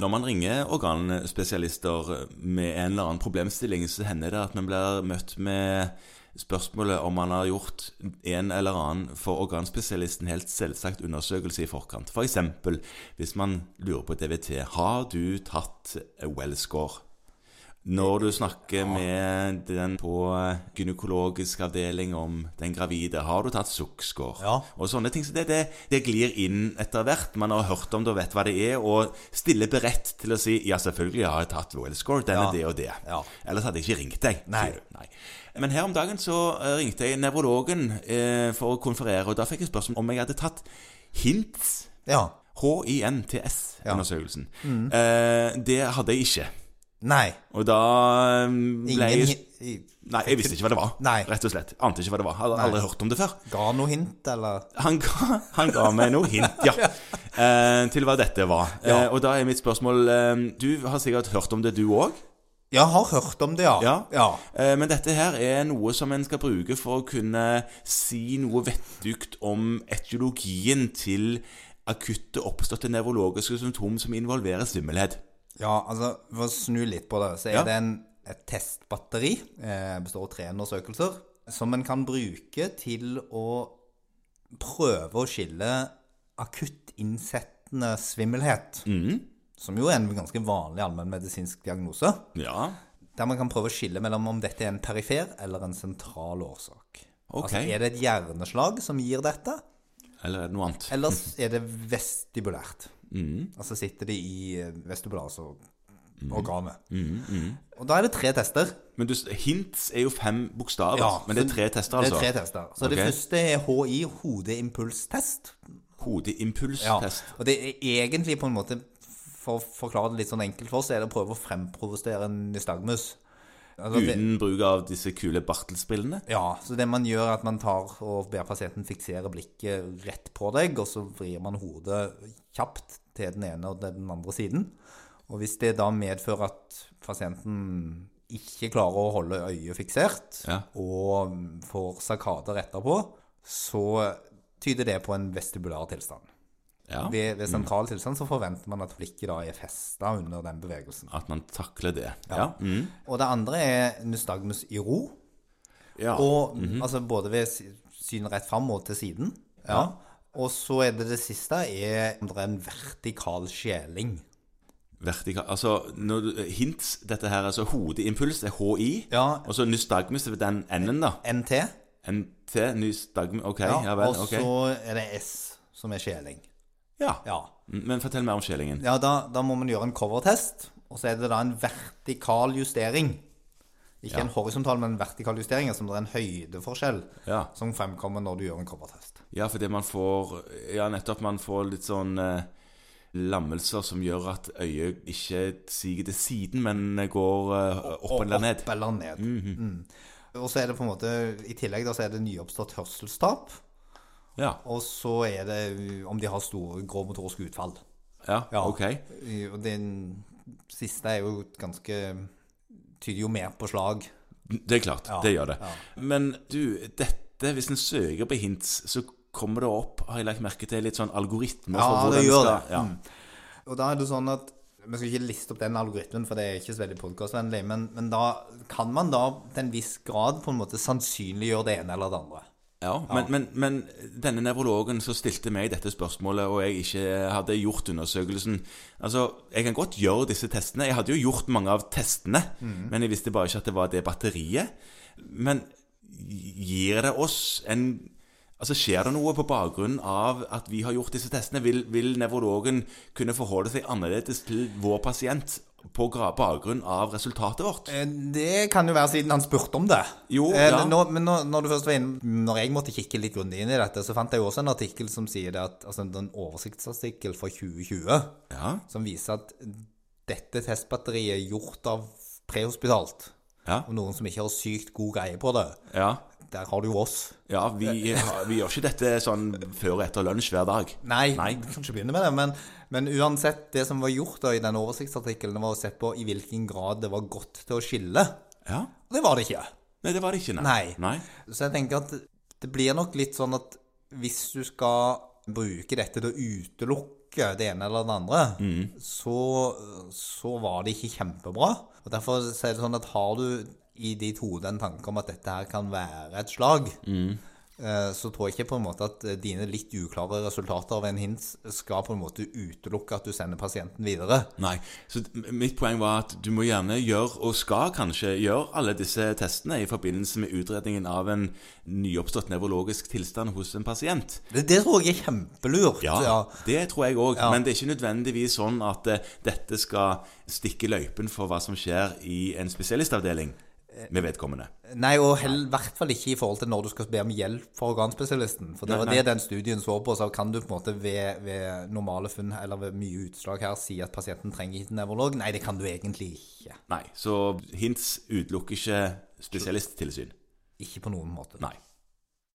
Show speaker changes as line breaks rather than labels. når man ringer organspesialister med en eller annen problemstilling, så hender det at man blir møtt med spørsmålet om man har gjort en eller annen for organspesialisten helt selvsagt undersøkelse i forkant. F.eks. For hvis man lurer på DVT Har du tatt Wellscore? Når du snakker med den på gynekologisk avdeling om den gravide, har du tatt sukkskår?
Ja.
Og sånne ting. Så det, det, det glir inn etter hvert. Man har hørt om det og vet hva det er, og stiller beredt til å si ja, selvfølgelig har jeg tatt Wellscore, den
Ja.
er det og det.
Ja.
Ellers hadde jeg ikke ringt deg.
Nei.
sier du. Nei. Men her om dagen så eh, ringte jeg nevrologen eh, for å konferere, og da fikk jeg spørsmål om jeg hadde tatt HINTS,
Ja.
H-I-N-T-S-undersøkelsen.
Mm.
Eh, det hadde jeg ikke.
Nei.
Og da eh, ble
Ingen
jeg
hin- i-
Nei, jeg visste ikke hva det var.
Nei.
Rett og slett. Ante ikke hva det var. Hadde aldri hørt om det før.
ga noe hint, eller?
Han ga, han ga meg noe hint, ja. Eh, til hva dette var. Eh, og da er mitt spørsmål eh, Du har sikkert hørt om det, du òg?
Ja, har hørt om det, ja.
Ja.
ja.
Eh, Men dette her er noe som en skal bruke for å kunne si noe vettugt om etiologien til akutte oppståtte nevrologiske symptom som involverer svimmelhet.
Ja, altså, for å snu litt på det, så er
Ja.
det en, et testbatteri, eh, består av tre undersøkelser, som en kan bruke til å prøve å skille akutt innsettende svimmelhet,
Mm.
som jo er en ganske vanlig allmennmedisinsk diagnose,
Ja.
der man kan prøve å skille mellom om dette er en perifer eller en sentral årsak.
Ok.
Altså, er det et hjerneslag som gir dette,
Eller er det noe annet?
Ellers er det vestibulært.
Mm.
Altså sitter det i eh, vestibular, altså organet.
Mm,
Og da er det tre tester.
Men du, hints er jo fem bokstaver, men det er tre tester,
Det
altså.
er tre tester. Så
Ok.
det første er HI, hodeimpulstest.
Hodeimpulstest.
Og det er egentlig på en måte, for å forklare det litt sånn enkelt for oss, er det å prøve å fremprovostere en nystagmus. Altså, det-
Uten bruk av disse kule bartelspillene.
Ja, så det man gjør er at man tar og ber pasienten fiksere blikket rett på deg, og så vrir man hodet kjapt til den ene og den andre siden. Og hvis det da medfører at pasienten ikke klarer å holde øyet fiksert,
Ja.
og får sakader etterpå, så tyder det på en vestibulær tilstand.
Ja.
Ved, ved sentral tilstand så forventer man at blikket da er festa under den bevegelsen.
At man takler det. Ja. Mm.
Og det andre er nystagmus i ro.
ja.
Og
Mhm.
altså både ved sy- synet rett fram og til siden. Ja. Og så er det det siste er om det er en vertikal skjeling.
Vertikal Altså, når du, hints, dette her, altså hodeimpuls, det er HI.
Ja.
Og så nystagmus er ved den enden, da.
NT.
NT, nystagmus Ok, ja, vel.
og
ok.
så er det S som er skjeling.
Ja. Mm,
Ja,
Men fortell mer om skjelingen.
ja da, da må man gjøre en covertest, og så er det da en vertikal justering. Ikke en horisontal, men en vertikal justering, altså om det er en høydeforskjell
Ja.
som fremkommer når du gjør en covertest.
Ja, fordi man får Ja, nettopp. Man får litt sånn eh, lammelser som gjør at øyet ikke siger til siden, men går eh, opp eller ned.
Opp eller ned.
Mhm.
Mm. Og så er det på en måte, i tillegg da, så er det nyoppstått hørselstap.
Ja.
Og så er det uh, om de har store grovmotoriske utfall.
ja. Ok.
Uh, Og den siste er jo et ganske Tyder jo mer på slag.
Det er klart. Det gjør det. Men du, dette Hvis en søker på hints, så kommer det opp, har jeg lagt merke til, litt sånn algoritmer
Ja,
for
det
hvordan en
gjør
skal
det.
Ja.
Og da er det sånn at Vi skal ikke liste opp den algoritmen, for det er ikke så veldig podkastvennlig, men, men da kan man da til en viss grad på en måte sannsynliggjøre det ene eller det andre.
Ja, men, men, men denne nevrologen som stilte meg dette spørsmålet, og jeg ikke hadde gjort undersøkelsen Altså, jeg kan godt gjøre disse testene. Jeg hadde jo gjort mange av testene, men jeg visste bare ikke at det var det batteriet. Men gir det oss en Altså, Skjer det noe på bakgrunn av at vi har gjort disse testene? Vil, vil nevrologen kunne forholde seg annerledes til vår pasient på gra- bakgrunn av resultatet vårt?
Eh, Det kan jo være siden han spurte om det.
Jo,
Eh,
ja.
nå, men nå, når du først var inne Når jeg måtte kikke litt grundig inn i dette, så fant jeg jo også en artikkel som sier det at Altså en oversiktsartikkel fra 2020
Ja,
som viser at dette testbatteriet er gjort av prehospitalt.
ja,
Og noen som ikke har sykt god greie på det.
ja.
Der har du jo oss.
Ja, vi, vi gjør ikke dette sånn før og etter lunsj hver dag.
Nei,
Nei.
vi kan ikke begynne med det, men, men uansett, det som var gjort da i den oversiktsartikkelen, var å se på i hvilken grad det var godt til å skille.
Ja.
Og det var det ikke.
Nei, det var det ikke, nei.
Nei. Så jeg tenker at det blir nok litt sånn at hvis du skal bruke dette til å utelukke utelukke det ene eller det andre, så, så var det ikke kjempebra. Og Derfor så er det sånn at har du i ditt hode en tanke om at dette her kan være et slag, eh, så tror jeg ikke på en måte at dine litt uklare resultater av en hint skal på en måte utelukke at du sender pasienten videre.
Nei. Så d- mitt poeng var at du må gjerne gjøre, og skal kanskje gjøre, alle disse testene i forbindelse med utredningen av en nyoppstått nevrologisk tilstand hos en pasient.
Det, det tror jeg er kjempelurt.
Ja,
ja.
det tror jeg òg. Men det er ikke nødvendigvis sånn at eh, dette skal stikke løypen for hva som skjer i en spesialistavdeling med vedkommende.
Nei, og hell, i hvert fall ikke i forhold til når du skal be om hjelp fra organspesialisten. For det
Nei,
var
nei.
det den studien så på. Så kan du på en måte ved, ved normale funn eller ved mye utslag her si at pasienten trenger ikke nevrolog? Nei, det kan du egentlig ikke.
Nei, så hints utelukker ikke spesialisttilsyn.
Ikke på noen måte.
Nei.